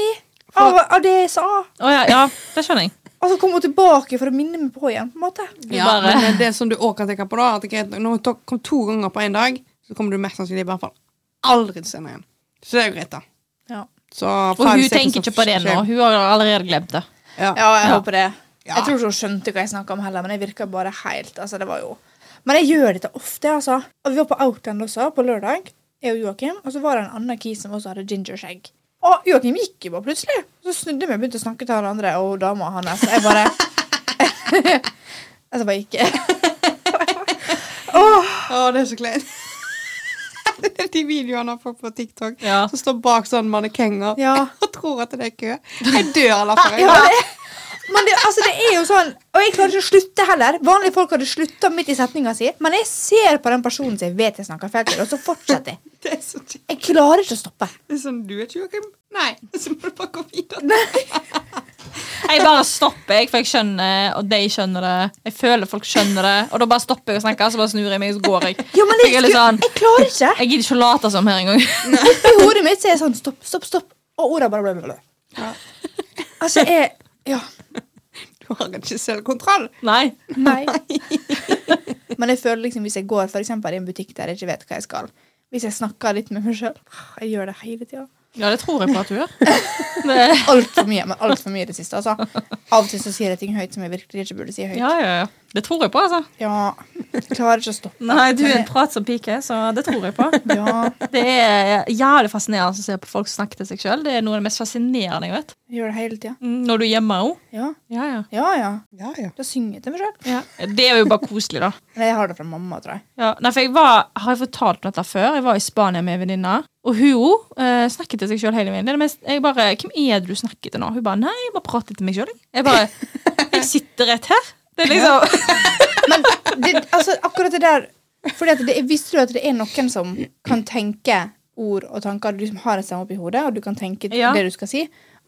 B: av, av det jeg sa.
C: Å ja, ja, det skjønner jeg.
B: Og så kom hun tilbake for å minne meg på igjen. på en måte.
A: Ja,
C: Bare-
A: men det som du òg kan tenke på, da at greit, Når hun tok- kom to ganger på én dag, så kommer du mest sannsynlig i hvert fall aldri til scenen igjen. Så det er jo greit, da.
B: Ja,
A: Så
C: Og hun tenker ikke sånn på det nå. Hun har allerede glemt det.
A: Ja.
B: jeg
C: Ja.
B: håper det.
A: Ja.
B: Jeg tror ikke hun skjønte hva jeg snakka om heller, men jeg virka bare helt altså, det var jo... Men jeg gjør dette ofte, altså. Og vi var på Outland også, på lørdag, jeg og Joakim, og så var det en annen kis som også hadde gingerskjegg. Og Joakim gikk jo bare plutselig. Så snudde jeg meg og begynte å snakke til han andre og dama hans. Jeg bare Altså bare ikke.
A: Å, det er så kleint. De videoene av folk på TikTok
C: Ja.
A: som står bak sånne mannekenger
B: Ja.
A: og tror at det er kø. Jeg dør av latter.
B: Ja,
A: jeg.
B: det, men det, altså, det er jo sånn Og jeg klarer ikke å slutte heller. Vanlige folk hadde slutta midt i setninga si, men jeg ser på den personen som jeg vet jeg snakker feil til, og så fortsetter jeg.
A: Det er så kjipt.
B: Jeg klarer ikke å stoppe.
A: Det er sånn, Du er ikke Joakim? Nei. Så må du bare gå videre.
C: Jeg bare stopper, jeg, for jeg skjønner, og de skjønner det. Jeg føler folk skjønner det, og da bare stopper jeg å snakke, så bare snur jeg meg, og så går jeg.
B: Ja, men
C: For
B: jeg,
C: jeg, er litt sånn,
B: jeg klarer ikke.
C: jeg gidder ikke å late som her engang.
B: I hodet mitt så er jeg sånn stopp, stopp, stopp. Og orda bare blablabla.
A: Ja.
B: Altså, jeg Ja.
A: Du har ikke selvkontroll.
C: Nei.
B: Nei. Men jeg føler liksom hvis jeg går for eksempel, i en butikk der jeg ikke vet hva jeg skal Hvis jeg snakker litt med meg sjøl Jeg gjør det hele tida.
C: Ja, det tror jeg på at du gjør. Det,
B: Altfor mye. Men altfor mye i det siste, altså. Av og til så sier jeg ting høyt som jeg virkelig ikke burde si høyt.
C: ja, ja, ja. Det tror jeg på, altså.
B: Ja. Jeg klarer ikke å stoppe.
C: Nei, du er en pratsom pike, så det tror jeg på.
B: Ja,
C: Det er jævlig fascinerende å se på folk snakke til seg sjøl. Det er noe av det mest fascinerende jeg vet.
B: jeg gjør det hele tida.
C: Mm, Når du er hjemme òg.
B: Ja.
C: Ja, ja.
B: ja, ja.
A: Ja, ja.
B: Da synger jeg til meg sjøl.
C: Det er jo bare koselig, da.
B: Men jeg har det fra mamma, tror jeg.
C: Ja, nei, for jeg var, Har jeg fortalt om dette før? Jeg var i Spania med en venninne. Og hun eh, snakket til seg sjøl hele veien. Det er det mest, jeg bare, 'Hvem er det du snakker til nå?' Hun bare 'Nei, jeg bare prater til meg sjøl'. Jeg bare 'Jeg sitter rett her'. Det er liksom
B: Men det, altså, akkurat det der Fordi at det, jeg visste jo at det er noen som kan tenke ord og tanker. Du som har en stemme oppi hodet, og du kan tenke
C: Ja.
B: det du skal si.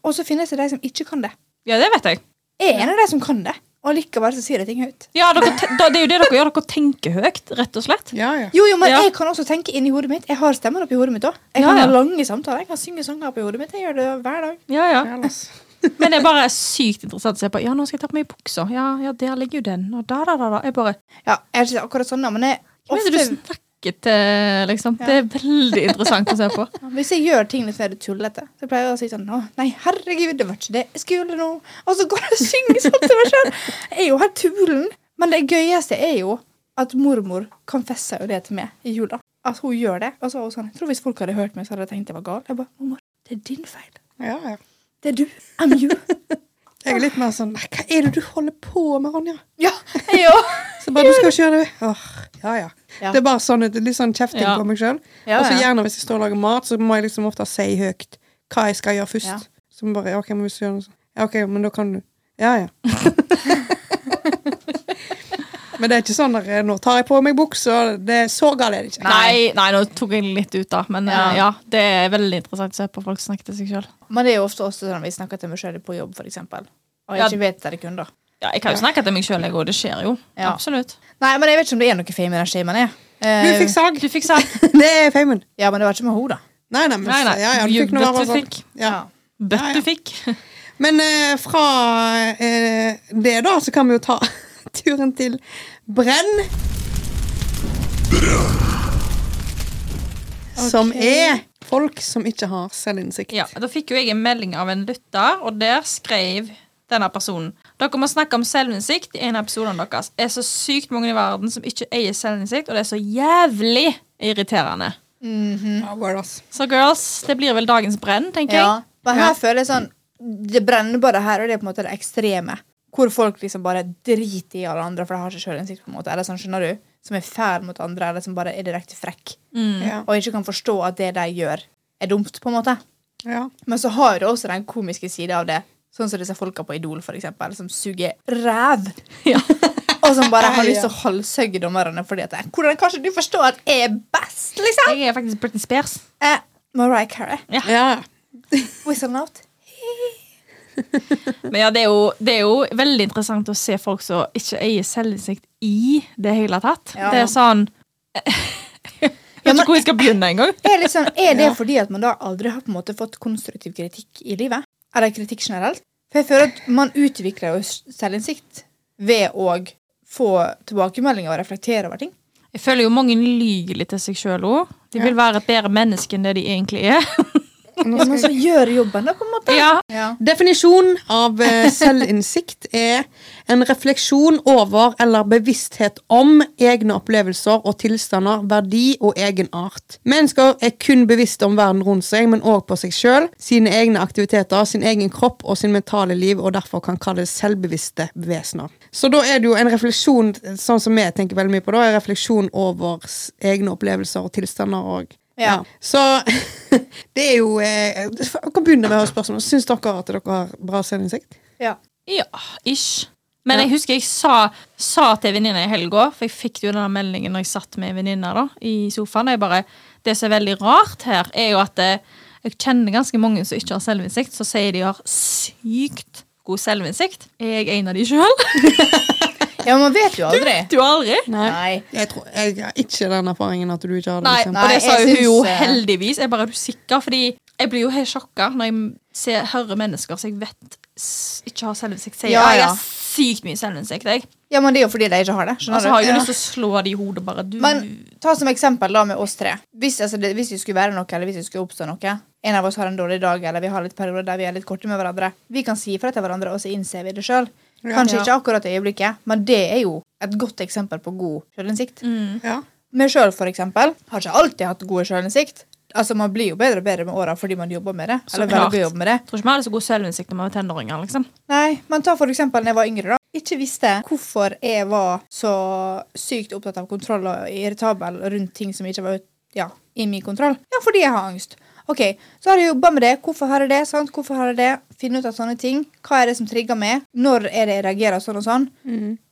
B: Og så finnes det de som ikke kan det.
C: Ja, det vet jeg.
B: Jeg er en av de som kan det. Og likevel så sier jeg ting høyt.
C: Ja, dere, te- da, Det er jo det dere gjør. Dere tenker høyt, rett og slett.
A: ja, ja.
B: Jo, jo, men
C: Ja.
B: jeg kan også tenke inni hodet mitt. Jeg har stemmer oppi hodet mitt òg. Jeg
C: Ja,
B: kan
C: ja.
B: ha lange samtaler. Jeg kan synge sanger oppi hodet mitt. Jeg gjør det hver dag.
C: Ja, ja.
A: Ja, Lars.
C: Men det er bare sykt interessant å se på. Ja, nå skal jeg ta på meg buksa. Ja, ja, der ligger jo den. Og da, da, da, da. Jeg bare
B: Ja, jeg er ikke akkurat sånn, da, men jeg
C: Hva er det du
B: ofte,
C: snakker til, liksom?
B: Ja.
C: Det er veldig interessant å se på.
B: Hvis jeg gjør ting litt mer tullete, så pleier jeg å si sånn Å, nei, herregud, det var ikke det jeg skulle nå. Og så går jeg og synger sånn til meg sjøl. Jeg er jo helt tulen. Men det gøyeste er jo at mormor konfessa jo det til meg i jula. At hun gjør det. Og så var hun sånn Jeg tror hvis folk hadde hørt meg, så hadde de tenkt jeg var gal. Jeg bare Mormor, det er din feil.
A: Ja, ja.
B: Det er du. I'm you.
A: Jeg er litt mer sånn Hva er det du holder på med, Ronja?
B: Ja, jeg òg.
A: Så bare, du skal ikke gjøre det. Åh, ja, ja.
B: Ja.
A: Det er bare sånn, et- litt sånn kjefting
C: Ja.
A: på meg sjøl.
B: Ja,
A: og så
B: ja.
A: gjerne hvis jeg står og lager mat, så må jeg liksom ofte si høyt hva jeg skal gjøre først.
B: Ja.
A: Så man bare, ok, men hvis du gjør noe sånn, ja, ok, men da kan du. Ja, ja. men det er ikke sånn der, eh, nå tar jeg på meg bukser, det er så galt er det ikke.
C: Nei, nei, nå tok jeg litt ut, da. Men
B: Ja.
C: eh, ja, det er veldig interessant å se på folk som snakker til seg sjøl.
B: Men det er jo ofte også sånn at vi snakker til meg sjøl på jobb, f.eks. Og jeg
C: Ja.
B: ikke vet der det kunder.
C: Ja, jeg kan jo snakke til meg sjøl, jeg òg. Det skjer jo.
B: Ja.
C: Absolutt.
B: Nei, men jeg vet ikke om det er noe fame i den shamen. jeg.
A: Du
B: Eh,
A: fikk sag.
C: Du fikk sagt
A: Det er feimen.
B: ja, men det var ikke med henne, da.
A: Nei, nei, men,
C: Nei, nei.
A: Ja, ja, du
C: You
A: fikk noe
C: bet
A: av
C: du
A: sånn.
C: fikk.
A: Ja.
C: Bøtt
A: Ja, ja.
C: du fikk.
A: Men eh, fra eh, det, da, så kan vi jo ta turen til Brenn. Som er folk som ikke har selvinnsikt.
C: Ja, Da fikk jo jeg en melding av en lytter, og der skrev denne personen Dere må snakke om selvinnsikt i en av episodene deres. Det er så sykt mange i verden som ikke eier selvinnsikt, og det er så jævlig irriterende.
A: Ja, word, ass.
C: Så girls, det blir vel dagens brenn, tenker
B: Ja, men her
C: Ja.
B: føler jeg sånn Det brenner bare her, og det er på en måte det ekstreme. Hvor folk liksom bare driter i alle andre, for de har ikke sjølinnsikt. på en måte, Eller sånn, skjønner du? Som er fæl mot andre, eller som bare er direkte frekk.
C: Mm.
A: Ja.
B: Og ikke kan forstå at det de gjør, er dumt, på en måte.
A: Ja.
B: Men så har du også den komiske sida av det. Sånn som disse folka på Idol, for eksempel, som suger ræv.
C: jeg. Ja.
B: Og som bare har lyst til å halshøgge dommerne fordi at Hvordan kan ikke du forstå at jeg er best, liksom?
C: Jeg er faktisk Britney Spears.
B: Eh, Mariah Carey.
A: ja.
B: Whistle out.
C: Men ja, det er, jo, det er jo veldig interessant å se folk som ikke eier selvinnsikt i det hele tatt.
B: Ja.
C: Det er sånn Jeg vet
B: men-
C: ikke hvor jeg skal begynne engang.
B: Er, liksom, er det fordi at man da aldri har på en måte fått konstruktiv kritikk i livet? Eller kritikk generelt? For jeg føler at man utvikler jo selvinnsikt ved å få tilbakemeldinger og reflektere over ting.
C: Jeg føler jo mange lyver litt til seg sjøl òg. De vil være et bedre menneske enn det de egentlig er.
A: Nå
B: Ja,
A: skal
B: men
A: jeg-
B: så gjør jobben, da, på en måte.
C: Ja,
B: Ja.
A: Definisjon av eh, selvinnsikt er en refleksjon over eller bevissthet om egne opplevelser og tilstander, verdi og egenart. Mennesker er kun bevisste om verden rundt seg, men òg på seg sjøl, sine egne aktiviteter, sin egen kropp og sin mentale liv, og derfor kan kalles selvbevisste vesener. Så da er det jo en refleksjon, sånn som jeg tenker veldig mye på, da, en refleksjon over s- egne opplevelser og tilstander og
B: Ja.
A: så det er jo eh, Jeg kan begynne med å spørre Syns dere at dere har bra selvinnsikt?
B: Ja.
C: Ja, ish. Men jeg husker jeg sa, sa til venninna i helga, for jeg fikk jo denne meldingen når jeg satt med venninna da, i sofaen. og Jeg bare, det som er veldig rart her, er jo at eh, jeg kjenner ganske mange som ikke har selvinnsikt, så sier de har sykt god selvinnsikt. Er jeg en av de sjøl?
B: ja, men man vet jo aldri.
C: Du aldri.
B: Nei.
A: Jeg, tror, jeg har ikke den erfaringen at du ikke har det.
C: Nei,
A: liksom.
C: og det
B: Nei,
C: sa
B: jeg
C: jo hun jo
B: syns, eh,
C: heldigvis. Jeg bare er du sikker, fordi jeg blir jo helt sjokka når jeg ser, hører mennesker som jeg vet s- ikke har selvinnsikt, sier
B: Ja,
C: ja, jeg
B: ja.
C: har sykt mye selvinnsikt. Jeg.
B: Ja, men det er jo fordi de ikke har det.
C: Og
B: Skjønner
C: så Altså, har jeg jo
B: du?
C: lyst til å slå det i hodet bare. Du,
B: Men ta som eksempel da med oss tre. Hvis, altså, det, hvis det skulle være noe, eller hvis det skulle oppstå noe, en av oss har en dårlig dag, eller vi har litt perioder der vi er litt korte med hverandre, vi kan si ifra til hverandre, og så innser vi det sjøl. Kanskje
A: Ja.
B: ikke akkurat i øyeblikket, men det er jo et godt eksempel på god sjølinnsikt.
C: mm.
A: Ja.
B: Meg sjøl, for eksempel, har ikke alltid hatt god sjølinnsikt. Altså, man blir jo bedre og bedre med åra fordi man jobber med det.
C: Så
B: Eller
C: klart.
B: velger å jobbe med det.
C: Jeg tror ikke vi hadde så god selvinnsikt når vi var tenåringer. liksom.
B: Nei, men ta for eksempel når jeg var yngre da. Ikke visste hvorfor jeg var så sykt opptatt av kontroll og irritabel rundt ting som ikke var ut- ja, i min kontroll. Ja, fordi jeg har angst. Ok, så har jeg jobbet med det. Hvorfor har jeg det? sant? Hvorfor har jeg det? Finne ut av sånne ting. Hva er det som trigger meg? Når er det jeg reagerer sånn og sånn?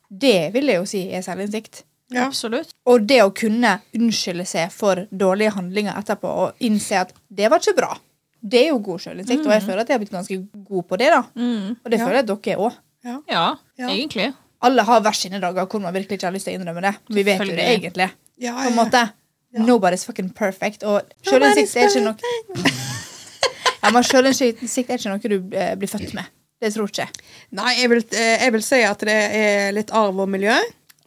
B: Det vil jeg jo si er selvinnsikt.
A: Ja.
C: Absolutt.
B: Og det å kunne unnskylde seg for dårlige handlinger etterpå og innse at det var ikke bra, det er jo god selvinnsikt. Og jeg føler at jeg har blitt ganske god på det, da.
C: Mm.
B: Og det
A: Ja.
B: føler jeg at dere er òg
C: Ja,
A: Ja.
C: egentlig.
B: alle har hver sine dager hvor man virkelig ikke har lyst til å innrømme det. Vi vet jo det
C: Selvfølgelig.
B: egentlig.
A: Ja,
B: På en måte. Nobody's fucking perfect. Og sjølinnsikt er ikke noe ja, men Sjølinnsikt er ikke noe du eh, blir født med. Det tror ikke jeg.
A: Nei, jeg vil, eh, jeg vil si at det er litt arv og miljø.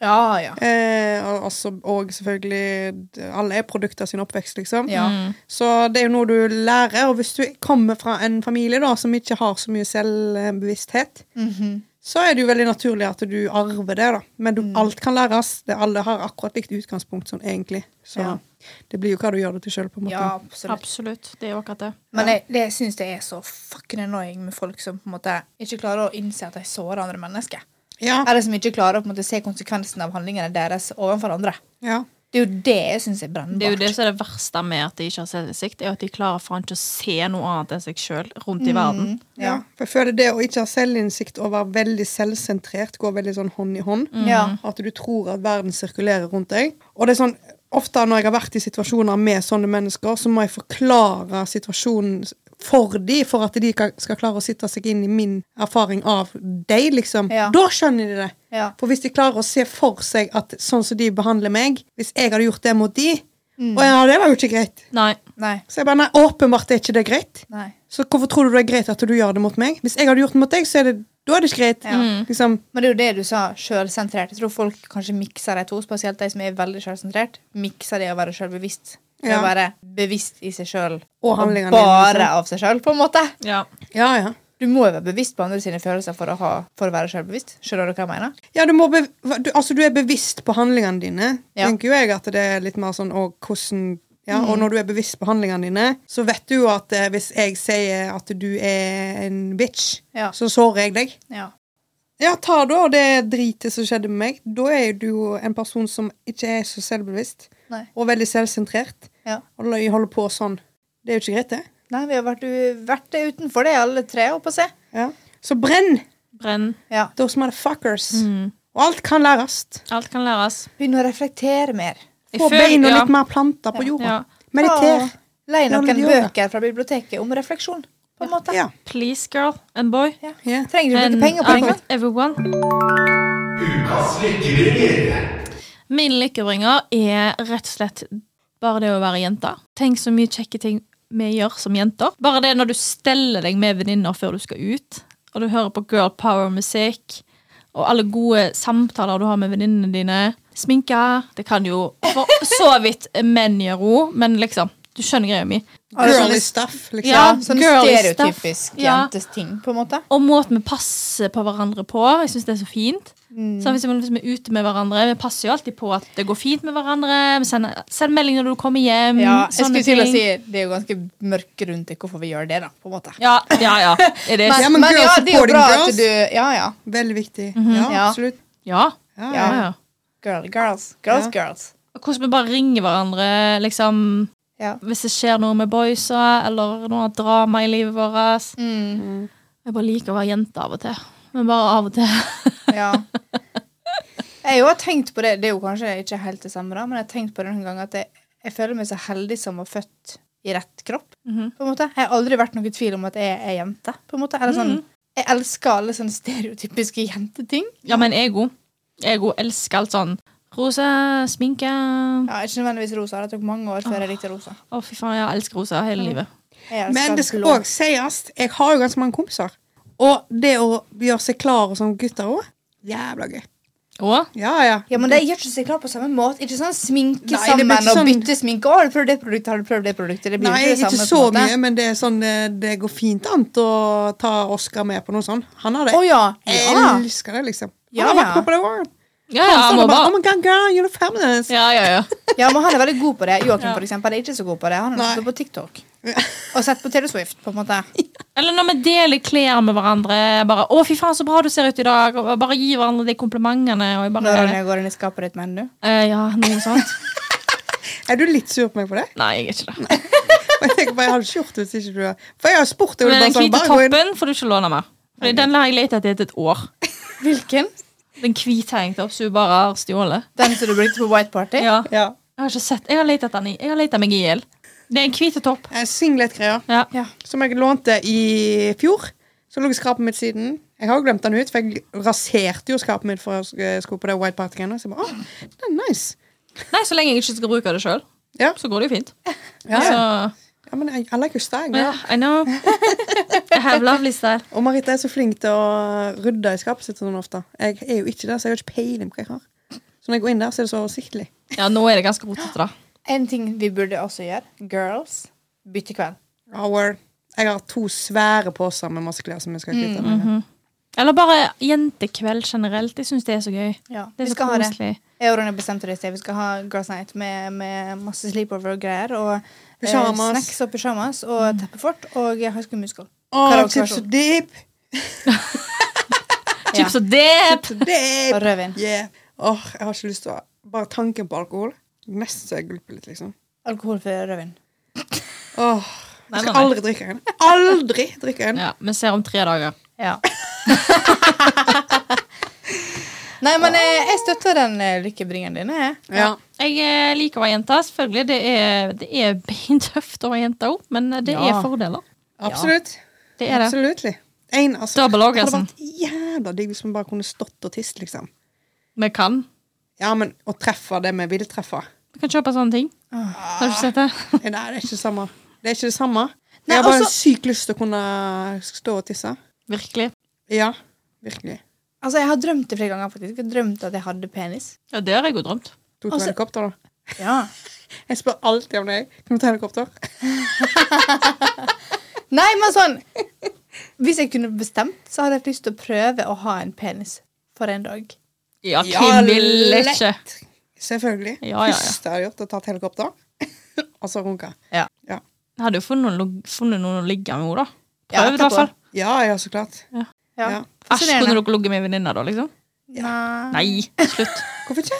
B: Ja, ja.
A: Eh, og, altså, og selvfølgelig Alle er produkter av sin oppvekst, liksom.
B: Ja.
A: Så det er jo noe du lærer. Og hvis du kommer fra en familie da som ikke har så mye selvbevissthet,
B: Mhm.
A: så er det jo veldig naturlig at du arver det, da. Men du,
B: Mm.
A: alt kan læres. Det, alle har akkurat likt utgangspunkt sånn egentlig. Så
B: Ja.
A: det blir jo hva du gjør det til sjøl, på en måte.
B: ja absolutt.
C: Absolutt. Det er jo akkurat det.
B: Men jeg, det syns jeg er så fucking annoying med folk som på en måte ikke klarer å innse at de sårer andre mennesker.
A: Ja.
B: Eller som ikke klarer å på en måte, se konsekvensen av handlingene deres overfor andre.
A: ja.
B: Det er jo det jeg syns er brennbart.
C: Det er jo det som er det verste med at de ikke har selvinnsikt, er jo at de klarer faen ikke å se noe annet enn seg sjøl rundt i verden.
B: Mm.
A: Ja. For jeg føler det å ikke ha selvinnsikt og være veldig selvsentrert går veldig sånn hånd i hånd.
B: Mm. Ja.
A: At du tror at verden sirkulerer rundt deg. Og det er sånn, ofte når jeg har vært i situasjoner med sånne mennesker, så må jeg forklare situasjonen for de, for at de kan- skal klare å sitte seg inn i min erfaring av deg, liksom.
B: Ja.
A: Da skjønner de det.
B: Ja.
A: For hvis de klarer å se for seg at sånn som de behandler meg, hvis jeg hadde gjort det mot de,
B: Mm.
A: og ja, det var jo ikke greit.
C: Nei.
B: Nei.
A: Så jeg bare, nei, åpenbart er ikke det greit.
B: Nei.
A: Så hvorfor tror du det er greit at du gjør det mot meg? Hvis jeg hadde gjort det mot deg, så er det, da er det ikke greit.
B: Ja. Mm.
A: Liksom,
B: Men det er jo det du sa, sjølsentrert. Jeg tror folk kanskje mikser de to, spesielt de som er veldig sjølsentrert. Mikser det å være sjølbevisst. Det
A: Ja.
B: å være bevisst i seg sjøl,
A: Og handlingene dine,
B: bare
A: liksom.
B: av seg sjøl, på en måte.
C: Ja.
A: ja, ja.
B: Du må jo være bevisst på andre sine følelser for å, ha, for å være sjølbevisst. Skjønner du hva jeg mener?
A: ja du, må be, du, altså, du er bevisst på handlingene dine.
B: Ja. Mm.
A: Tenker jo jeg at det er litt mer sånn og hvordan ja, Og når du er bevisst på handlingene dine, så vet du jo at eh, hvis jeg sier at du er en bitch,
B: Ja.
A: så sårer jeg deg.
B: Ja.
A: Ja, ta da det dritet som skjedde med meg. Da er jo du jo en person som ikke er så selvbevisst,
B: Nei.
A: og veldig selvsentrert.
B: Ja.
A: Og løy holder på sånn. Det er jo ikke greit, det.
B: Nei, vi har vært, u- vært det utenfor det, alle tre, holdt på å si.
A: Ja. Så brenn!
C: Brenn.
B: Ja.
A: Those motherfuckers.
B: Mm.
C: Mm.
A: Og alt kan læres.
C: Alt kan læres.
B: Begynn å reflektere mer.
C: Jeg
A: Få
C: føler-
A: bein og
C: ja.
A: litt mer planter på jorda.
C: Ja.
A: Mediter.
B: Ta- Lei
A: Ja,
B: noen
A: men det gjør det.
B: bøker fra biblioteket om refleksjon, på en måte.
A: Ja.
C: Please, girl and boy.
B: Ja.
A: Ja.
B: Trenger ikke
C: And
B: bruke penger på det engang.
C: I want everyone.
D: Ukas lykkeringer.
C: Min lykkebringer er rett og slett bare det å være jente. Tenk så mye kjekke ting vi gjør som jenter. Bare det når du steller deg med venninner før du skal ut, og du hører på girl power-musikk, og alle gode samtaler du har med venninnene dine. Sminke. Det kan jo for så vidt menn gjøre òg, men liksom, du skjønner greia mi.
B: Ja, det er sånn
A: Girly
B: det-
A: stuff, liksom.
B: Ja,
C: Ja,
B: sånn
C: girly
B: stereotypisk
C: stuff. Ja.
B: jentes ting, på en måte.
C: Og måten vi passer på hverandre på. Jeg synes det er så fint.
B: Mm.
C: Så hvis, vi, hvis vi er ute med hverandre Vi passer jo alltid på at det går fint med hverandre. Vi sender, send melding når du kommer hjem.
B: Ja, Mm, jeg skulle
C: sånne
B: til å
C: ting.
B: si Det er jo ganske mørkt rundt det hvorfor vi gjør det, da. på en måte
C: Ja, ja. ja. Er det,
A: Ja, men girls
B: det er jo
A: supporting
B: bra
A: girls.
B: at du Ja, ja.
A: Veldig viktig. Ja,
B: Mhm. Ja.
A: absolutt.
C: ja.
A: Ja,
C: ja,
A: ja.
C: ja.
B: Girl, girls, girls, girls.
C: Og Hvordan vi bare ringer hverandre liksom,
B: Ja.
C: hvis det skjer noe med boysa eller noe drama i livet vårt.
B: Mm,
C: Jeg bare liker å være jente av og til. Men bare av og til.
B: ja. Jeg har jo tenkt på det, det er jo kanskje ikke helt det samme, da, men jeg har tenkt på det noen ganger at jeg, jeg føler meg så heldig som var født i rett kropp.
A: Mhm.
B: på en måte. Jeg har aldri vært noen tvil om at jeg er jente. på en måte. Eller sånn,
A: Mhm.
B: Jeg elsker alle sånne stereotypiske jenteting.
C: Ja, men jeg òg. Jeg òg elsker alt sånn rosa, sminke Å,
B: Ja, ikke nødvendigvis rosa. Det tok mange år før jeg likte rosa.
C: fy faen, jeg elsker rosa hele livet.
B: Jeg elsker
A: Men det skal
B: blå.
A: òg sies, jeg har jo ganske mange kompiser. Og det å gjøre seg klar og sånn gutter òg, jævla gøy.
C: Og
A: Ja, ja.
B: Ja, men de gjør ikke seg klar på samme måte. Ikke sånn sminke
A: Nei, det blir
B: sammen
A: ikke
B: og
A: sånn-
B: bytte sminke. Å, har du prøvd det produktet? Har du prøvd det produktet? Det blir
A: Nei,
B: jo ikke det samme.
A: ikke så mye, men det er sånn eh, Det går fint an å ta Oscar med på noe sånt. Han har det.
B: Å ja.
A: Jeg
B: ja.
A: elsker det, liksom. Han
B: Ja,
A: har vært
B: ja.
A: på på det òg.
C: Ja, ja,
A: Han
C: han
A: står der
C: må
A: bare Oh
C: bare
A: my god, girl, you're a feminist.
C: Ja, ja, ja.
B: Ja, men han er veldig god på det. Joakim for eksempel, er ikke så god på det. Han
A: Nei.
B: har sittet på TikTok og sett på Taylor Swift, på en måte.
C: Eller når vi deler klær med hverandre. Bare 'Å, fy faen, så bra du ser ut i dag.' Og bare gi hverandre de komplimentene. Og jeg
B: Når
C: bare,
B: han går inn i skapet ditt, mener du?
C: eh, ja, noe sånt.
A: Er du litt sur på meg for det?
C: Nei, jeg er ikke det.
A: Og jeg tenker bare, jeg hadde ikke gjort det hvis ikke du hadde For jeg har spurt deg, og du
C: Men
A: bare
C: den
A: sånn
C: hvite
A: bare gå inn.
C: toppen får du ikke låne mer. Fordi Den har jeg lett etter et- et år.
B: Hvilken?
C: Den hvite hengte opp, så hun bare har stjålet.
B: Den som du brukte på White Party?
C: Ja,
A: Ja.
C: jeg har ikke sett Jeg har lett etter den i Jeg har lett etter meg i hjel. Det er en hvite topp.
A: Eh, Singlet-greier
C: Ja.
B: Ja.
A: som jeg lånte i fjor. Så lå i skrapet mitt siden. Jeg har jo glemt den ut, for jeg raserte jo skapet mitt for å sk- skulle på det White Party-greiene. Så jeg bare, å, det er nice.
C: Nei, så lenge jeg ikke skal bruke det sjøl,
A: Ja.
C: så går det jo fint.
A: Ja, ja.
C: Altså,
A: ja men I, I like your style.
C: ja,
A: girl.
C: I know. I have lovely style.
A: Og Marita er så flink til å rydde i skapet sitt sånn ofte. Jeg er jo ikke det, så jeg har ikke peiling på hva jeg har. Så når jeg går inn der, så er det så oversiktlig.
C: Ja, nå er det ganske rotete, da.
B: En ting vi burde også gjøre, girls, bytte kveld.
A: Ja, word. Jeg har to svære poser med masse klær som jeg skal kvitte meg med.
C: Eller bare jentekveld generelt. Jeg syns det er så gøy.
B: Ja,
C: Det er
B: vi
C: så
B: skal ha det.
C: koselig.
B: Jeg og Ronja bestemte det i sted. Vi skal ha Girls Night med, med masse sleepover og greier. Og eh,
A: Pyjamas.
B: snacks og pysjamas og teppefort og High School Musical.
A: Å,
B: Karaokeversjon.
A: chips og dip!
C: Chips og dip!
B: Og
A: Dip!
B: rødvin.
A: Yeah. Åh, jeg har ikke lyst til å Bare tanken på alkohol. Nesten så jeg gulper litt, liksom.
B: Alkoholfri rødvin.
A: Åh,
C: Nei,
A: jeg skal
C: nei, nei.
A: aldri drikke en. Aldri drikke en.
C: Ja, Vi ser om tre dager.
B: Ja. Nei, men eh, jeg støtter den eh, lykkebringeren din. Jeg.
A: Ja.
C: Jeg eh, liker å være jente, selvfølgelig. Det er, det er beintøft å være jente òg, men eh, det
A: Ja.
C: er fordeler.
A: Absolutt.
C: Det er det.
A: Absolutt. En, altså,
C: Double orgasm.
A: Det hadde vært jævla digg hvis man bare kunne stått og tisset, liksom.
C: Vi kan.
A: Ja, men å treffe det vi vil treffe
C: Vi kan kjøpe sånne ting. Har du ikke sett det?
A: Nei, det er ikke det samme. Det er ikke det samme.
B: Nei,
A: jeg har bare
B: altså-
A: sykt lyst til å kunne stå og tisse.
C: Virkelig.
A: Ja, virkelig.
B: Altså, jeg har drømt det flere ganger. faktisk. Jeg har drømt at jeg hadde penis.
C: Ja, det har jeg jo drømt.
A: Tok du
B: Altså-
A: helikopter, da?
B: Ja.
A: Jeg spør alltid om deg. Kan du ta helikopter?
B: Nei, men sånn Hvis jeg kunne bestemt, så hadde jeg hatt lyst til å prøve å ha en penis for en dag.
C: Ja,
A: Ja,
C: hvem vil
A: lett.
C: ikke?
A: Selvfølgelig.
C: Ja, ja, ja.
A: Første jeg har gjort, er tatt helikopter. og så runka.
C: Jeg hadde jo funnet noen, funnet noen å ligge med henne, da.
B: Ja,
C: Prøvd, i hvert fall.
A: Ja, ja, så klart.
B: Ja.
A: Ja.
C: Æsj, kunne dere ligget med en venninne da, liksom?
B: Nei.
C: Nei, slutt.
A: Hvorfor ikke?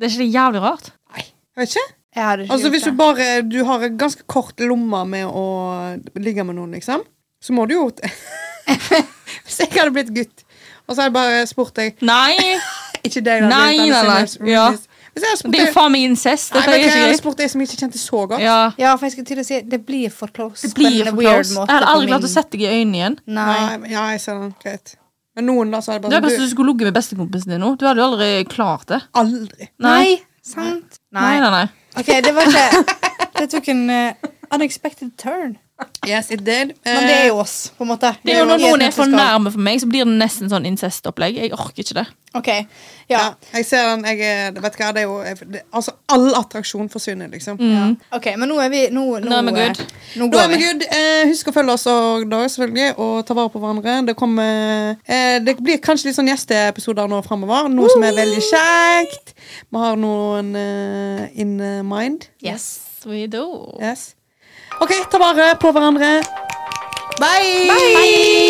C: Det er ikke det jævlig rart?
A: Nei, jeg vet ikke.
B: Jeg hadde ikke
A: Altså,
B: gjort
A: Hvis du
B: det.
A: bare du har en ganske kort lomme med å ligge med noen, liksom, så må du jo Hvis jeg hadde blitt gutt, og så hadde jeg bare spurt deg
C: Nei!
A: Ikke deg, da.
C: Nei,
A: det er
C: nei, nei.
A: Alexander
C: Ja.
A: Rudis. Hvis jeg hadde spurt
C: Det er jo
A: deg
C: faen meg incest.
A: Nei, vet
C: Dette er
A: du, jeg
C: ikke
A: hadde
C: greit.
A: spurt deg som ikke kjente så godt.
C: Ja.
B: Ja, for jeg skulle til å si det blir for close.
C: Det blir
B: på en
C: for
B: weird
C: close.
B: måte
C: Jeg hadde
B: på
C: aldri
B: min-
C: klart å sette deg i øynene igjen.
B: Nei.
A: Nei, men- ja, jeg ser den. Greit. Men noen, da, så er det
C: Det er
A: bare
C: best
A: sånn,
C: du skulle ligget med bestekompisen din nå. Du hadde jo aldri klart det.
A: du Aldri.
C: Nei.
B: Nei. Sant?
C: Nei, nei, nei.
B: OK, det var ikke Det tok en eh, unexpected turn.
A: Yes, it did.
B: Men det er jo oss, på en måte.
C: Det er jo når
B: Vi et
C: noen er for
B: nøtteskall.
C: nærme for meg, så blir det nesten sånn incestopplegg. Jeg orker ikke det.
B: OK.
A: ja.
B: Ja.
A: Jeg ser den. Jeg er, vet du hva, det er jo det, Altså, all attraksjon forsvinner, liksom.
B: Ok, Men nå er vi Nå, nå,
C: Nå er vi good.
B: eh, Nå
A: Da er
B: går
A: vi
B: vi.
A: good. Eh, husk å følge oss og, da, selvfølgelig, og ta vare på hverandre. Det, kommer, eh, det blir kanskje litt sånn gjesteepisoder nå framover, noe som er veldig kjekt. Vi har noen eh, in mind.
B: Yes.
C: We do.
A: Yes. OK, ta vare på hverandre. Bye!